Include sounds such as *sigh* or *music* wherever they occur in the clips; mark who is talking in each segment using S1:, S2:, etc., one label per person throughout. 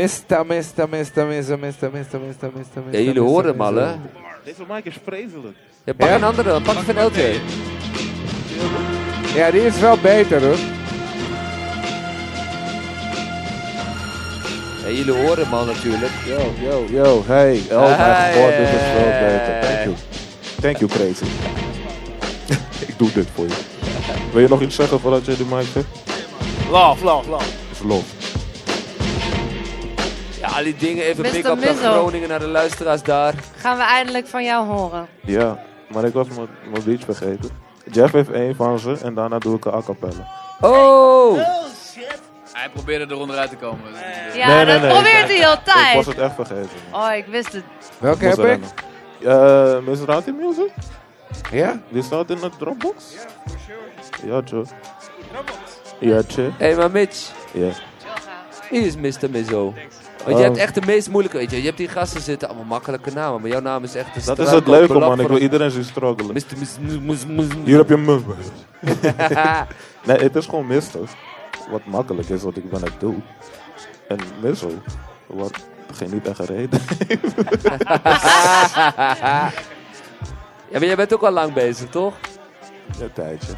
S1: Mista, mista, mista, mista, mista, mista, mista, mista, mista.
S2: Ja, jullie
S1: mista,
S2: horen hem
S1: mista.
S2: al, hè?
S3: Deze mic is vreselijk.
S2: Ja, pak
S1: Ja?
S2: een andere dan. Pak die van LJ.
S1: Ja, die is wel beter, hoor.
S2: Ja, jullie horen hem al natuurlijk.
S4: Yo, yo, yo, hey. Oh mijn god, dit is wel
S2: Hey.
S4: beter. Thank you. Thank you, crazy. *laughs* ik doe dit voor je. Wil je nog iets zeggen voordat je de mic zegt?
S3: Love, love, love.
S4: Is love.
S2: Ja, al die dingen. Even
S5: Mr.
S2: big up naar
S5: Mizzo.
S2: Groningen, naar de luisteraars daar.
S5: Gaan we eindelijk van jou horen.
S4: Ja, maar ik was mijn mijn beach vergeten. Jeff heeft één van ze en daarna doe ik een a cappella.
S2: Oh!
S6: Hij probeerde eronder uit te komen. dus- dus-
S5: Ja,
S4: Nee, nee,
S5: dat
S4: nee.
S5: probeert hij
S4: Ik was
S5: altijd.
S4: het echt vergeten. man.
S5: Oh, ik wist het.
S1: Welke
S4: Ik
S1: heb
S4: moest
S1: ik?
S4: rennen. Eh, Misrati Music?
S1: Ja?
S4: Die staat in de Dropbox? Ja, tje. Ja, tje.
S2: Hé, hey, maar Mitch.
S4: Ja.
S2: Wie is Mr. Mizzo? Want
S4: Oh.
S2: je hebt echt de meest moeilijke... Weet je, je hebt die gasten zitten allemaal makkelijke namen. Maar jouw naam is echt een
S4: Dat is het leuke, man. Ik wil
S2: iedereen.
S4: iedereen zien struggelen.
S2: Mr. Miz- Miz- Miz- Miz-
S4: Hier heb je mug.
S2: *laughs*
S4: Nee, het is gewoon Mister. Wat makkelijk is wat ik ben het doen. En Missel, wat geen niet echt
S2: *laughs*
S4: gereden.
S2: Ja, maar jij bent ook al lang bezig, toch?
S4: Een tijdje.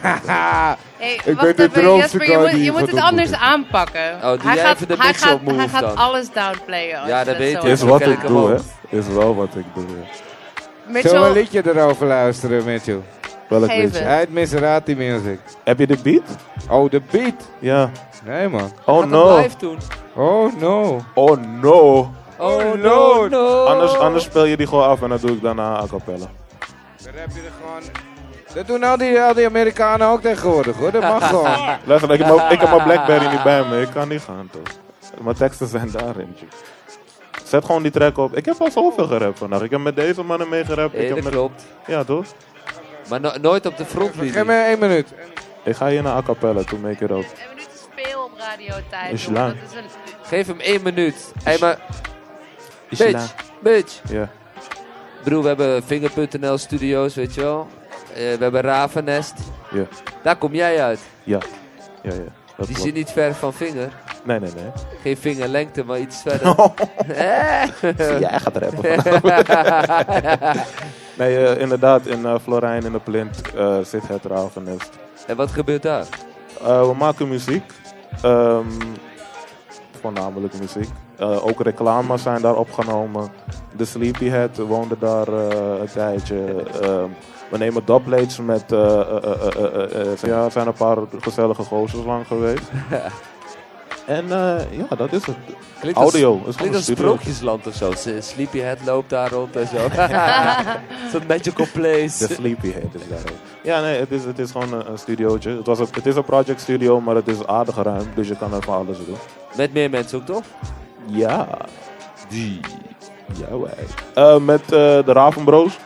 S5: Hey,
S1: ben
S5: wacht
S1: de
S5: even,
S1: droomste
S5: Jesper, je
S1: guy
S5: moet,
S1: die
S5: je
S1: je
S5: moet
S1: gaat
S5: het anders
S1: ontmoeten.
S5: aanpakken.
S2: doe
S5: hij
S2: Oh, jij
S5: gaat,
S2: even de
S5: hij
S2: mix-up
S5: gaat,
S2: move
S5: hij gaat
S2: dan.
S5: alles downplayen. als
S2: Ja,
S5: je
S2: dat weet
S5: zo
S2: ik.
S4: Is
S5: doet.
S2: zo
S4: wat
S2: ken
S4: ik
S2: ik hem
S4: doe,
S2: ook.
S4: hè? Is wel wat ik doe. hè.
S1: Zullen we een
S5: Mitchell,
S1: liedje erover luisteren, Mitchell?
S4: Welk
S5: Geef
S4: liedje?
S5: het.
S1: Uit Miserati Music.
S4: Heb je de beat?
S1: Oh, de beat.
S4: Ja.
S1: Nee, man.
S4: Oh
S2: Gaat hem
S4: no.
S2: live doen.
S1: Oh, no.
S4: Oh no.
S2: Oh no, no.
S4: Anders, anders speel je die gewoon af en dan doe ik daarna a cappella.
S1: Dan heb je er gewoon... Dat doen al die, al die Amerikanen ook tegenwoordig, hoor. Dat mag gewoon.
S2: *laughs*
S4: Luister, ik heb, mijn- ik heb mijn Blackberry niet bij me. Ik kan niet gaan, toch? Mijn teksten zijn daarin, tje. Zet gewoon die track op. Ik heb al zoveel gerapt vandaag. Ik heb met deze mannen meegerapt.
S2: Nee,
S4: ik heb
S2: dat
S4: met...
S2: klopt.
S4: Ja, toch?
S2: Maar no- nooit op de
S1: Geef
S2: frontlinie.
S1: me één minuut.
S4: Ik ga hier naar a cappella, to make it up.
S5: een minuut te speel op radiotijd.
S4: Is
S5: jongen.
S4: lang.
S5: Dat is een-
S2: Geef hem één minuut. Hé, maar...
S4: je
S2: Bitch, bitch.
S4: Ja.
S2: Ik bedoel, we hebben Finger.nl studios, weet je wel. Eh, we hebben Ravenest.
S4: Ja.
S2: Daar kom jij uit.
S4: Ja. Ja, ja. Dat
S2: Die
S4: klopt.
S2: zit niet ver van vinger.
S4: Nee, nee, nee.
S2: Geen vingerlengte, maar iets
S4: *laughs*
S2: verder.
S4: Oh.
S2: Eh?
S4: Jij gaat rappen vanavond. nee, eh, inderdaad. In eh, Florijn in de Plint eh, zit het Ravenest.
S2: *laughs* en wat gebeurt daar?
S4: Eh, we maken muziek. Ehm, voornamelijk muziek. Eh, ook reclames zijn daar opgenomen. De Sleepyhead woonde daar eh, een tijdje. Ehm, we nemen dubplates met... eh eh, eh, eh, eh, eh, ja, er zijn een paar gezellige gozers
S2: *laughs*
S4: lang geweest. en eh, ja, dat is het.
S2: Klinkt als-
S4: Audio. is gewoon
S2: Klinkt
S4: een
S2: als
S4: studio.
S2: sprookjesland of zo. S- Sleepyhead loopt daar rond en
S4: *laughs*
S2: zo. *laughs* Zo'n magical
S4: De
S2: place.
S4: Sleepyhead is daar ook. Ja, nee, het is, het is gewoon een, een studiootje. Het, was een, het is een project studio, maar het is aardig ruim. Dus je kan er van alles doen.
S2: Met meer mensen ook, toch?
S4: Ja. Die. Ja, wij. Eh, met eh, de Ravenbroos.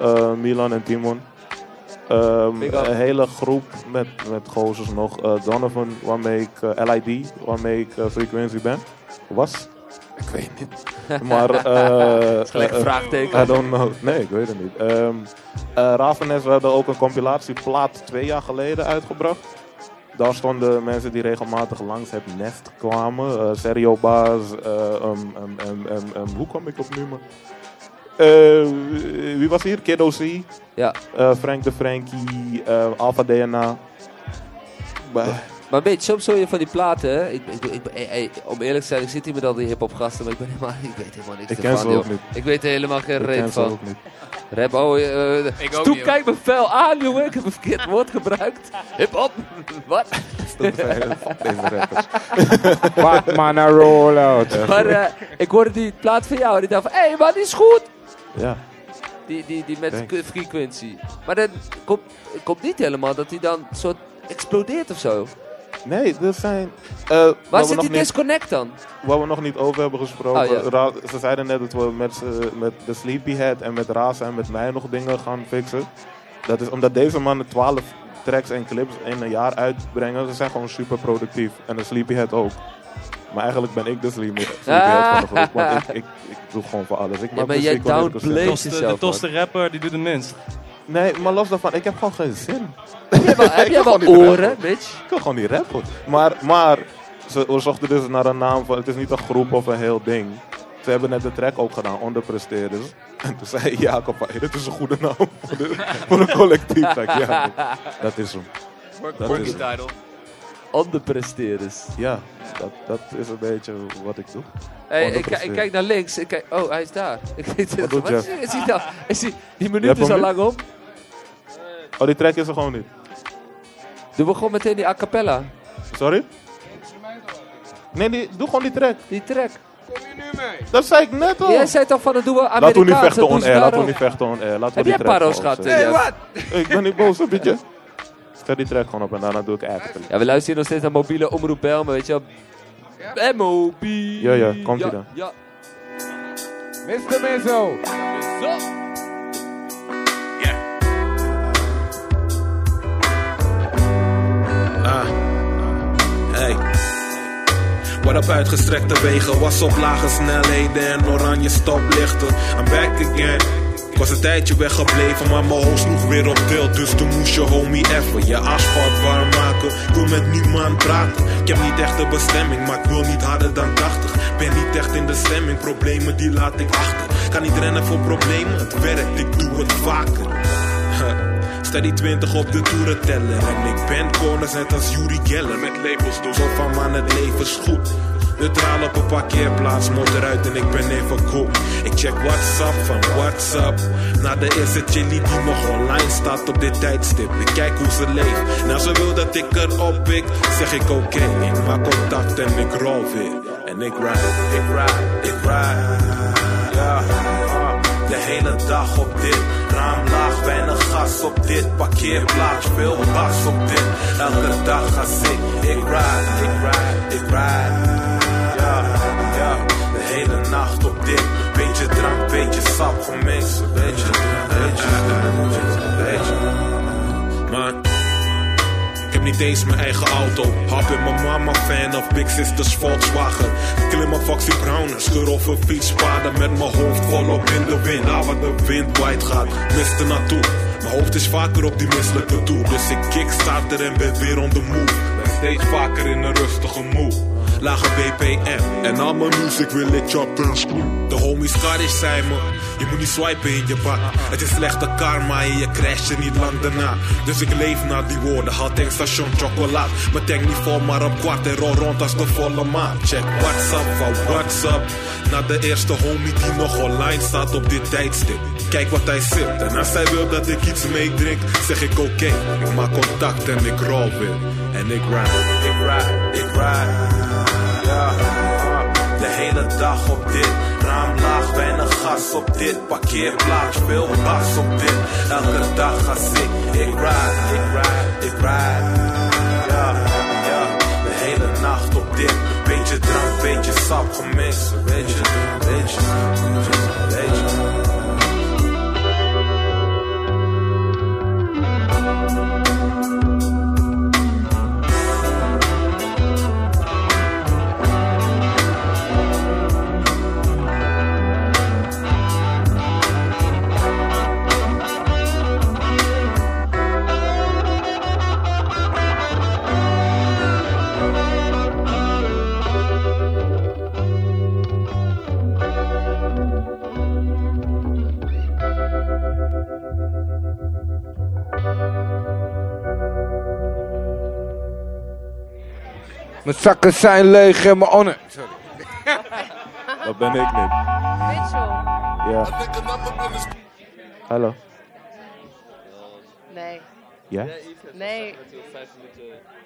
S4: Eh, Milan en Timon. Ehm,
S2: Big up.
S4: een hele groep met, met gozers nog. Eh, Donovan, waarmee ik eh, LID, waarmee ik eh, frequency ben. Was? Ik weet niet.
S2: *laughs*
S4: Maar... eh,
S2: Gelijk
S4: eh,
S2: een vraagteken.
S4: I don't know. Nee, ik weet het niet. Ehm eh, Ravenest, we hadden ook een compilatieplaat twee jaar geleden uitgebracht. Daar stonden mensen die regelmatig langs het nest kwamen. Eh, Serio Baas, eh, ehm, ehm, ehm, ehm, ehm, hoe kwam ik op nummer? Eh, wie was hier? Kiddo C,
S2: Ja.
S4: eh, Frank de Frankie, eh Alpha DNA. Bah.
S2: Maar weet je, soms hoor je van die platen. hè. Ik, ik, ik, eh, eh, om eerlijk te zijn, ik zit hier met al die hip-hop gasten, maar ik, ben helemaal, *laughs* ik weet helemaal niks
S4: Ik ken
S2: ervan.
S4: ze ook
S2: joh.
S4: niet.
S2: Ik weet er helemaal geen
S4: Ik
S2: reet
S4: ken ze
S2: van.
S4: ook
S2: *laughs*
S4: niet.
S2: Rap, oh, eh, eh,
S6: Ik ook
S2: Stoep,
S6: niet,
S2: kijk me fel aan, jongen. Ik heb een verkeerd woord gebruikt. Hip-hop. *laughs* Wat?
S4: Dat zijn- fuck deze rappers.
S1: Pak maar naar rollout.
S2: Maar eh, ik hoorde die plaat van jou en ik dacht van, hé, hey, maar die is goed.
S4: Ja.
S2: Die, die, die met
S4: Thanks.
S2: frequentie. Maar dan komt komt niet helemaal dat hij dan soort explodeert of zo.
S4: Nee, dat zijn... eh, wat
S2: Waar
S4: we
S2: zit
S4: nog
S2: die
S4: niet-
S2: disconnect dan?
S4: Waar we nog niet over hebben gesproken.
S2: Oh, ja.
S4: Ra- ze zeiden net dat we met, z'n- met de Sleepyhead en met Raas en met mij nog dingen gaan fixen. Dat is omdat deze mannen 12 tracks en clips in een jaar uitbrengen. Ze zijn gewoon super productief. En de Sleepyhead ook. Maar eigenlijk ben ik de Sleepy- Sleepyhead van de groep. Want ik, ik, ik doe gewoon voor alles.
S2: Ah.
S4: Ik
S2: Ja,
S4: maak
S2: maar jij
S4: muziek wanneer ik er zin in
S2: downplayt
S4: heb.
S7: Toste- de
S2: jezelf, man.
S7: toste rapper die doet het minst.
S4: Nee, maar los daarvan. Ik heb gewoon geen zin.
S2: Heb jij wel, heb jij
S4: kan
S2: wel
S4: gewoon niet
S2: oren, Mitch?
S4: Ik kan gewoon niet rappen. Maar, maar ze we zochten dus naar een naam van, het is niet een groep of een heel ding. Ze hebben net de track ook gedaan, onderpresteerders. En toen zei Jacob, van, hey, dit is een goede naam voor, de, voor een collectief. Ik dacht, ja, dat is hem.
S6: Work,
S4: Dat
S6: work
S4: is
S6: the title.
S2: Onderpresterers.
S4: Ja, dat, dat is een beetje wat ik doe.
S2: Hey, ik,
S4: Onderpresteerders.
S2: ik kijk naar links. Ik kijk, oh, hij is daar. *laughs* Ik weet
S4: Wat
S2: het.
S4: doet
S2: Wat
S4: Jeff?
S2: is, is hij nou? Is hij, die
S4: Je
S2: minuut
S4: hebt
S2: is al
S4: hem
S2: lang op.
S4: Oh, die track is er gewoon niet.
S2: Er begon meteen die a cappella.
S4: Sorry? Nee, die, doe gewoon die track.
S2: Die track.
S1: Kom je nu mee?
S4: Dat zei ik net al.
S2: Jij zei toch van het doen we Amerikaans.
S4: Laten we niet vechten
S2: dat doen
S4: Oh. on
S2: ze
S4: air,
S2: daar
S4: laten we
S2: ook.
S4: niet vechten on air. Laten
S2: Heb
S4: we
S2: jij
S4: die track
S2: paro's
S4: gewoon
S2: gehad?
S4: opzetten.
S2: eh, Jeff?
S4: Ik ben niet boos, weet je. Zet die track gewoon op en daarna doe ik eigenlijk.
S2: Ja, we luisteren hier nog steeds naar mobiele omroep Belmen, weet je wel. MOB.
S4: Ja, ja, komt-ie dan.
S2: Ja.
S1: Mr. Mezzo.
S2: Zo.
S7: Hey. Wat op uitgestrekte wegen was op lage snelheden en oranje stoplichten. I'm back again. Ik was een tijdje weggebleven, maar mijn hoofd sloeg weer op tilt. Dus toen moest je homie effen je asfalt warm maken. Ik wil met niemand praten. Ik heb niet echt een bestemming, maar ik wil niet harder dan 80. Ben niet echt in de stemming, problemen die laat ik achter. Kan niet rennen voor problemen, het werkt, ik doe het vaker. Sta die 20 op de toeren tellen. En ik ben corners net als Yuri Geller. Met labels dus Zo van man, het leven is goed. Neutraal op een parkeerplaats, moet eruit en ik ben even cool. Ik check WhatsApp van WhatsApp. Na de eerste chili die nog online staat op dit tijdstip. Ik kijk hoe ze leeft. Nou, ze wil dat ik erop pik. Zeg ik oké, ik maak contact en ik rol weer. En ik ride, ik ride, ik ride. Ja. De hele dag op dit raam laag, weinig gas op dit parkeerplaats, veel bas op dit. Elke dag ga ik, ik ride, ik ride, ik ride. Ja, ja, de hele nacht op dit. Beetje drank, beetje sap voor mensen, beetje, beetje, beetje, beetje. Maar ik heb niet eens mijn eigen auto. Hap in mijn mama fan of Big Sisters Volkswagen. Ik Klim op Foxy Brown, scheur of een fietspaden met mijn hoofd volop in de wind. Daar waar de wind wijd gaat, mist er naartoe. Mijn hoofd is vaker op die misselijke toe. Dus ik kickstarter en ben weer on the move. Ben steeds vaker in een rustige moe. Lage BPM en al mijn music wil ik choppen. De homies Scottish zijn me. Je moet niet swipen in je bak. Het is slechte karma en je crasht je niet lang daarna. Dus ik leef naar die woorden. Haal tankstation chocola. Mijn tank niet vol, maar op kwart en rol rond als de volle maan. Check WhatsApp van WhatsApp. Naar de eerste homie die nog online staat op dit tijdstip. Kijk wat hij zit. En als hij wil dat ik iets meedrink, zeg ik oké. Ik maak contact en ik rol weer. En ik ride, ik ride, ik ride. Ja. De hele dag op dit raam laag, weinig gas op dit parkeerplaats, veel bas op dit. Elke dag ga ik, ik ride, ik ride, ik ride. Ja, ja, de hele nacht op dit. Beetje drank, beetje sap, gemist, beetje, beetje, beetje, beetje.
S1: Mijn zakken zijn leeg en mijn onnen. Sorry.
S4: Dat ben ik niet.
S5: Mitchell.
S4: Ja. Hallo.
S5: Nee.
S4: Ja?
S5: Nee.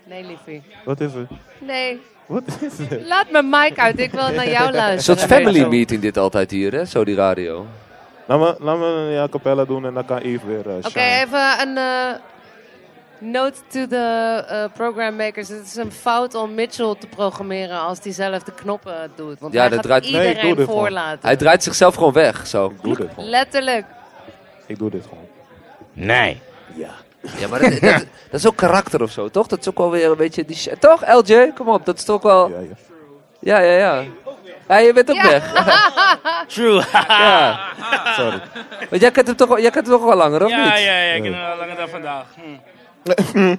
S5: Nee, liefie.
S4: Wat is er?
S5: Nee.
S4: Wat is er?
S5: Laat mijn mic uit. Ik wil naar jou luisteren.
S2: Een soort family
S5: Mitchell.
S2: meeting dit altijd hier, hè? Zo die radio.
S4: Laat me, laat me een a cappella doen en dan kan Eve weer eh
S5: Oké,
S4: shine.
S5: even een eh, note to the eh, program makers. Het is een fout om Mitchell te programmeren als hij zelf de knoppen doet. Want
S2: Ja,
S5: hij
S2: dat
S5: gaat
S2: draait- Nee,
S4: ik doe
S5: iedereen
S4: dit gewoon.
S5: voorlaten.
S2: Hij draait zichzelf gewoon weg, zo.
S4: Ik doe dit gewoon.
S5: Letterlijk.
S4: Ik doe dit gewoon.
S2: Ja, maar dat, dat- dat is ook karakter of zo, toch? Dat is ook wel weer een beetje die shit. Toch, LJ? Kom op, dat is toch wel...
S4: Ja, ja.
S2: Ja, ja, ja. Ja, je bent ook weg.
S6: True.
S2: ja.
S4: Sorry.
S2: Want jij kent hem toch, al- jij kent hem toch wel langer, of
S6: ja,
S2: *laughs* niet?
S6: ja, ja, ik
S4: Nee.
S6: ken hem al langer dan vandaag. Hm.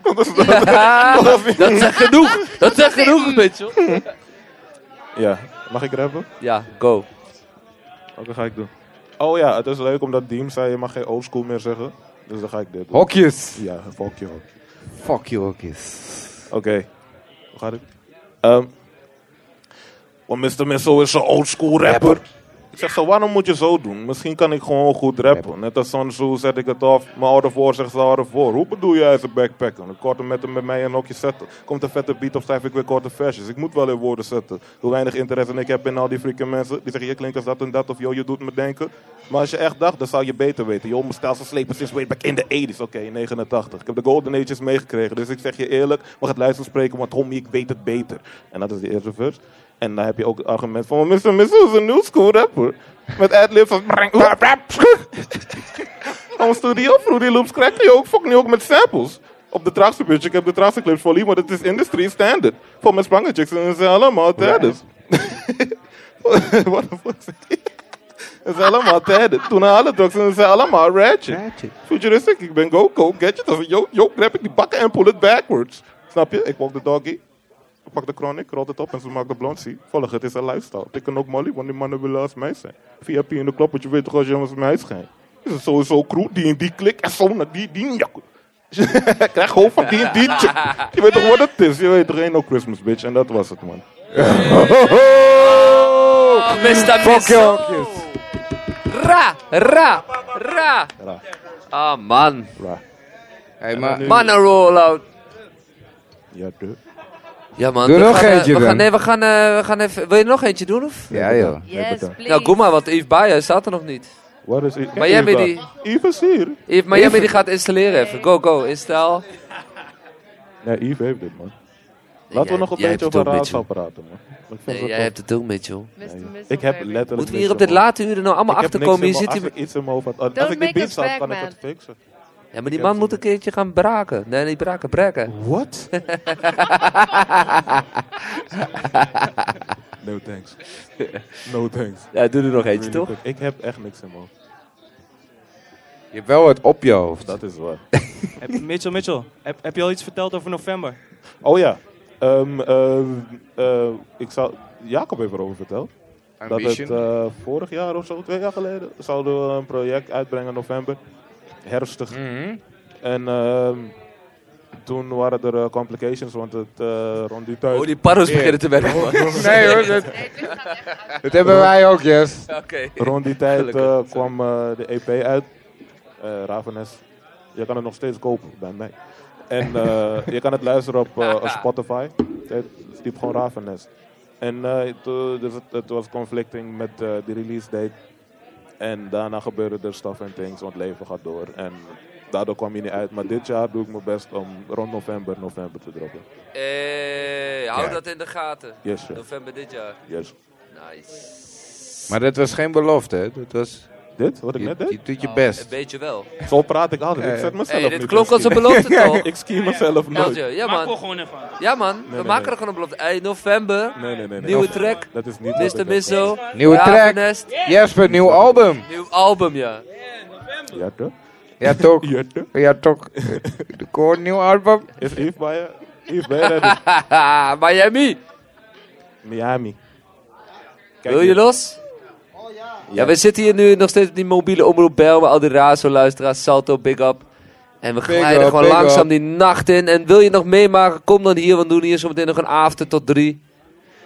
S2: dat zegt genoeg. Dat zegt *laughs* genoeg, Mitchell.
S4: Ja, mag ik rappen?
S2: Ja, go.
S4: Oké, ga ik doen. Oh ja, het is leuk omdat Diem zei, je mag geen oldschool meer zeggen. Dus dan ga ik dit doen.
S1: Hokjes.
S4: Ja, fuck you. Oké,
S1: Fuck je hokjes.
S4: hoe gaat het? Ehm want Mr. Missile is een oldschool rapper. Ik zeg zo, waarom moet je zo doen? Misschien kan ik gewoon goed rappen. Net als Sun Tzu zet ik het af. Mijn oude voor zegt ze oude voor. Hoe bedoel jij is een backpacker? Een korte met hem met mij in een hokje zetten. Komt een vette beat of schrijf ik weer korte versjes. Ik moet wel in woorden zetten. Hoe weinig interesse ik heb in al die freaking mensen. Die zeggen, je klinkt als dat en dat. Of joh, je doet me denken. Maar als je echt dacht, dan zou je beter weten. Joh, mijn stelsel slepen sinds way back in de 80s. Oké, in 89. Ik heb de golden ages meegekregen. Dus ik zeg je eerlijk, mag het luisteren spreken. Want homie, ik weet het beter. En dat is de eerste vers. En dan heb je ook het argument van Mr. Missile is een new school rapper. Met adlibs van brang, rap, rap. *laughs* Om studio vroeg die loops krijg je ook fuck nu ook met samples. Op de traagste pitch, ik heb de traagste clips voor lief, maar dat is industry standard. Voor mijn spangenchicks en ze zijn allemaal tijdens. *laughs* Wat de fuck *laughs* zeg je? Ze zijn allemaal tijdens. Toen naar alle drugs en ze zijn allemaal ratchet. Futuristic, ik ben Goku, gadget of yo, yo, grab ik die bakken en pull it backwards. Snap je? Ik walk de doggy. Ik pak de chronic, rolt het op en ze maakt de blondie. Volg het, is een lifestyle. Ik kan ook molly, want die mannen willen als mij zijn. VIP in de klop, want je weet toch als je als mij schijnt. Is het sowieso crew, die en die klik en zo naar die, die jak. *laughs* Krijg hoofd van die en die chick. Je weet toch wat het is? Je weet toch, ain't no Christmas, bitch. En dat was het, man.
S2: Oh, Mr.
S1: Fuck je
S2: Missile.
S1: hokjes.
S2: Ra, ra, ra.
S4: Ra.
S2: Ah, man.
S4: Ra.
S1: Hey, maar...
S2: Man, een roll-out.
S4: Ja, de.
S2: Ja, man.
S1: Doe
S2: we
S1: nog
S2: gaan, eh,
S1: eentje
S2: we
S1: dan.
S2: gaan, Nee, we gaan, eh, we gaan even... Wil je nog eentje doen, of?
S1: Ja, joh.
S5: Yes, please.
S2: Nou, kom maar, want Yves Bayer staat er nog niet.
S4: Wat is Kijk,
S2: Miami,
S4: hier is dat.
S2: die-
S4: Yves is hier.
S2: Yves, Miami die gaat installeren even. Go, go, instel.
S4: Nee, Yves heeft dit, man. Laten
S2: Jij-
S4: we nog een
S2: jij hebt
S4: beetje
S2: het
S4: over
S2: ook,
S4: raadsel praten, man. Ik vind
S2: Nee,
S4: dat
S2: jij
S4: wel-
S2: hebt het ook, Mitchell.
S5: Mr. Missile
S4: Ik heb
S5: Baby.
S4: letterlijk...
S2: Moeten we
S4: niks
S2: hier op dit
S4: ervan.
S2: late uur er nou allemaal
S4: Ik heb
S2: achter
S4: niks
S2: komen?
S4: in
S2: Je
S4: mijn-
S2: ziet
S4: als
S2: hem...
S4: ik iets in mijn hoofd had. Als
S5: Don't
S4: ik
S5: make
S4: die beat
S5: us
S4: zou,
S5: back,
S4: kan ik
S5: man.
S4: het fixen.
S2: Ja, maar die man moet een keertje gaan braken. Nee, niet braken, breken.
S4: What? no thanks. *laughs* No thanks.
S2: Ja, doe er nog eentje, toch?
S4: Really quick. Ik heb echt niks in mijn hoofd.
S1: Je hebt wel het op je hoofd.
S4: Dat is waar.
S8: Heb- Mitchell, Mitchell, heb, heb je al iets verteld over november?
S4: Oh ja. Ehm, ehm, eh, ik zou... Jacob heeft erover verteld. Dat het
S6: Ambition.
S4: eh, vorig jaar of zo, twee jaar geleden, zouden we een project uitbrengen in november. Herfstig. En ehm, toen waren er eh, complications, want het eh, rond die tijd...
S2: Oh, die parels beginnen te werken, man. *laughs*
S4: Oh.
S2: Oké.
S1: *laughs* Nee hoor, dat, *laughs* dat hebben wij ook, yes.
S4: Rond die tijd eh,
S2: Gelukkig.
S4: kwam eh, de EP uit. Eh Ravenes. Je kan het nog steeds kopen bij mij. En eh,
S2: *laughs*
S4: je kan het luisteren op eh, op Spotify. Het typ gewoon Ravenes. En eh, toen- dus het, het was conflicting met eh, de release date. En daarna gebeurde er stuff en things, want het leven gaat door. En daardoor kwam je niet uit. Maar dit jaar doe ik mijn best om rond november, november te droppen.
S2: Eh, hou dat in de gaten.
S4: Yes, sir.
S2: November dit jaar.
S4: Yes.
S2: Nice.
S1: Maar dat was geen belofte, hè? Dat was,
S4: Dit, wat ik
S1: je,
S4: net
S1: je
S4: deed?
S1: doet je
S2: Een
S1: best.
S2: beetje wel.
S4: Zo praat ik altijd. Ik zet mezelf
S2: Hey,
S4: niet
S2: dit
S4: in
S2: klonk als een
S4: schema. *laughs*
S2: belofte, toch?
S4: Ik ski mezelf nooit.
S2: Veldje, Ja,
S8: Maak
S2: man.
S8: gewoon even aan.
S2: Ja, man. We
S4: nee,
S2: maken er
S4: nee.
S2: gewoon een belofte. Hey, november.
S4: Nee, nee, nee. nee.
S2: Nieuwe
S4: Oh,
S2: track.
S4: Dat is niet wat ik
S2: Mr.
S4: heb.
S2: Misso.
S1: Nieuwe track.
S2: Ravenest.
S1: Jesper, nieuw album.
S2: Nieuw album, ja. *laughs*
S4: Ja, toch?
S1: Ja, toch?
S4: *laughs* Ja, toch?
S1: Ja, toch? De koor, nieuw album.
S4: Is Yves bij je? Yves bij
S2: *laughs*
S4: je? dat
S2: Haha, Miami.
S4: is Miami. Kijk
S2: Wil je
S4: hier.
S2: los? Ja, we zitten hier nu nog steeds op die mobiele omroep Bel, maar al die razo luisteraars, Salto, Big Up. En we
S1: Big
S2: glijden
S1: up,
S2: gewoon
S1: big
S2: langzaam
S1: up.
S2: die nacht in. En wil je nog meemaken, kom dan hier, want we doen hier zometeen nog een after tot drie.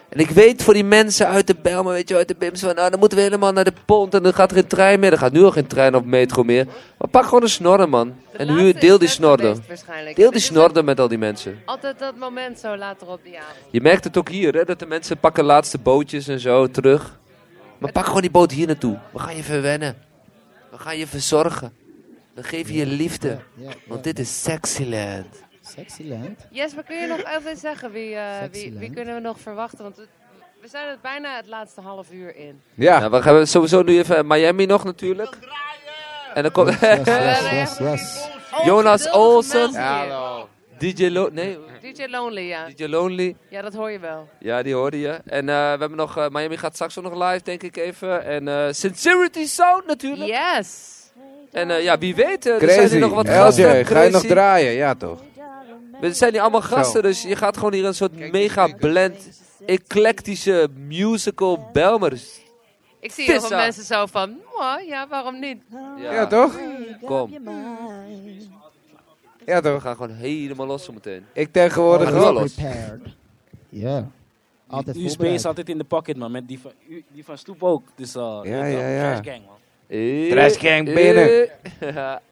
S2: En ik weet voor die mensen uit de Bel, maar weet je, uit de Bims, van, nou, dan moeten we helemaal naar de pont en dan gaat er geen trein meer. Er gaat nu al geen trein of metro meer. Maar pak gewoon een snorren, man.
S5: De
S2: En
S5: laatste
S2: huur, deel
S5: is
S2: die
S5: net
S2: snorren.
S5: geweest waarschijnlijk.
S2: Deel
S5: Het
S2: die
S5: is
S2: snorren met al die mensen.
S5: Altijd dat moment zo later op die avond.
S2: Je merkt het ook hier, hè, dat de mensen pakken laatste bootjes en zo terug. Maar pak gewoon die boot hier naartoe. We gaan je verwennen. We gaan je verzorgen. We geven je liefde. Want dit is Sexyland.
S9: Sexyland.
S5: Jesper, kun je nog even zeggen wie, eh, wie,
S9: Sexyland.
S5: wie kunnen we nog verwachten? Want het- we zijn er bijna het laatste half uur in.
S1: Ja,
S2: Nou, we gaan sowieso nu even Miami nog natuurlijk. En dan komt
S9: Yes, yes,
S5: Eh,
S9: yes.
S2: *laughs* Jonas Olsen.
S5: Hallo.
S2: DJ, Lo nee,
S5: DJ Lonely, ja.
S2: DJ Lonely.
S5: Ja, dat hoor je wel.
S2: Ja, die hoorde je. En eh, we hebben nog, eh, Miami gaat straks ook nog live, denk ik even. En eh, Sincerity Sound natuurlijk.
S5: Yes.
S2: En eh, ja, wie weet, eh, er zijn
S1: crazy.
S2: hier nog wat
S1: LJ,
S2: gasten.
S1: ga je nog
S2: Crazy.
S1: draaien? Ja, toch?
S2: Het zijn hier allemaal
S1: Zo.
S2: gasten, dus je gaat gewoon hier een soort mega blend, eclectische musical Belmers.
S5: Ik zie heel veel
S2: Vissa.
S5: mensen zo van, "Mwah, ja, waarom niet?
S1: Ja, toch?
S2: Kom,
S1: Ja,
S2: we
S1: toch?
S2: gaan gewoon helemaal los zo meteen.
S1: Ik tegenwoordig
S2: Gaan we
S1: ook.
S2: wel los.
S9: Prepared. Ja. Altijd
S10: USB
S9: voorbereid.
S10: is altijd in de pocket, man. Met die van, u- die van Stoep ook. Dus, eh,
S1: Ja,
S10: weet je
S1: ja,
S10: wel,
S1: ja.
S10: Trash gang, man.
S2: Eh,
S1: Trash gang
S2: eh,
S1: binnen.
S2: ja.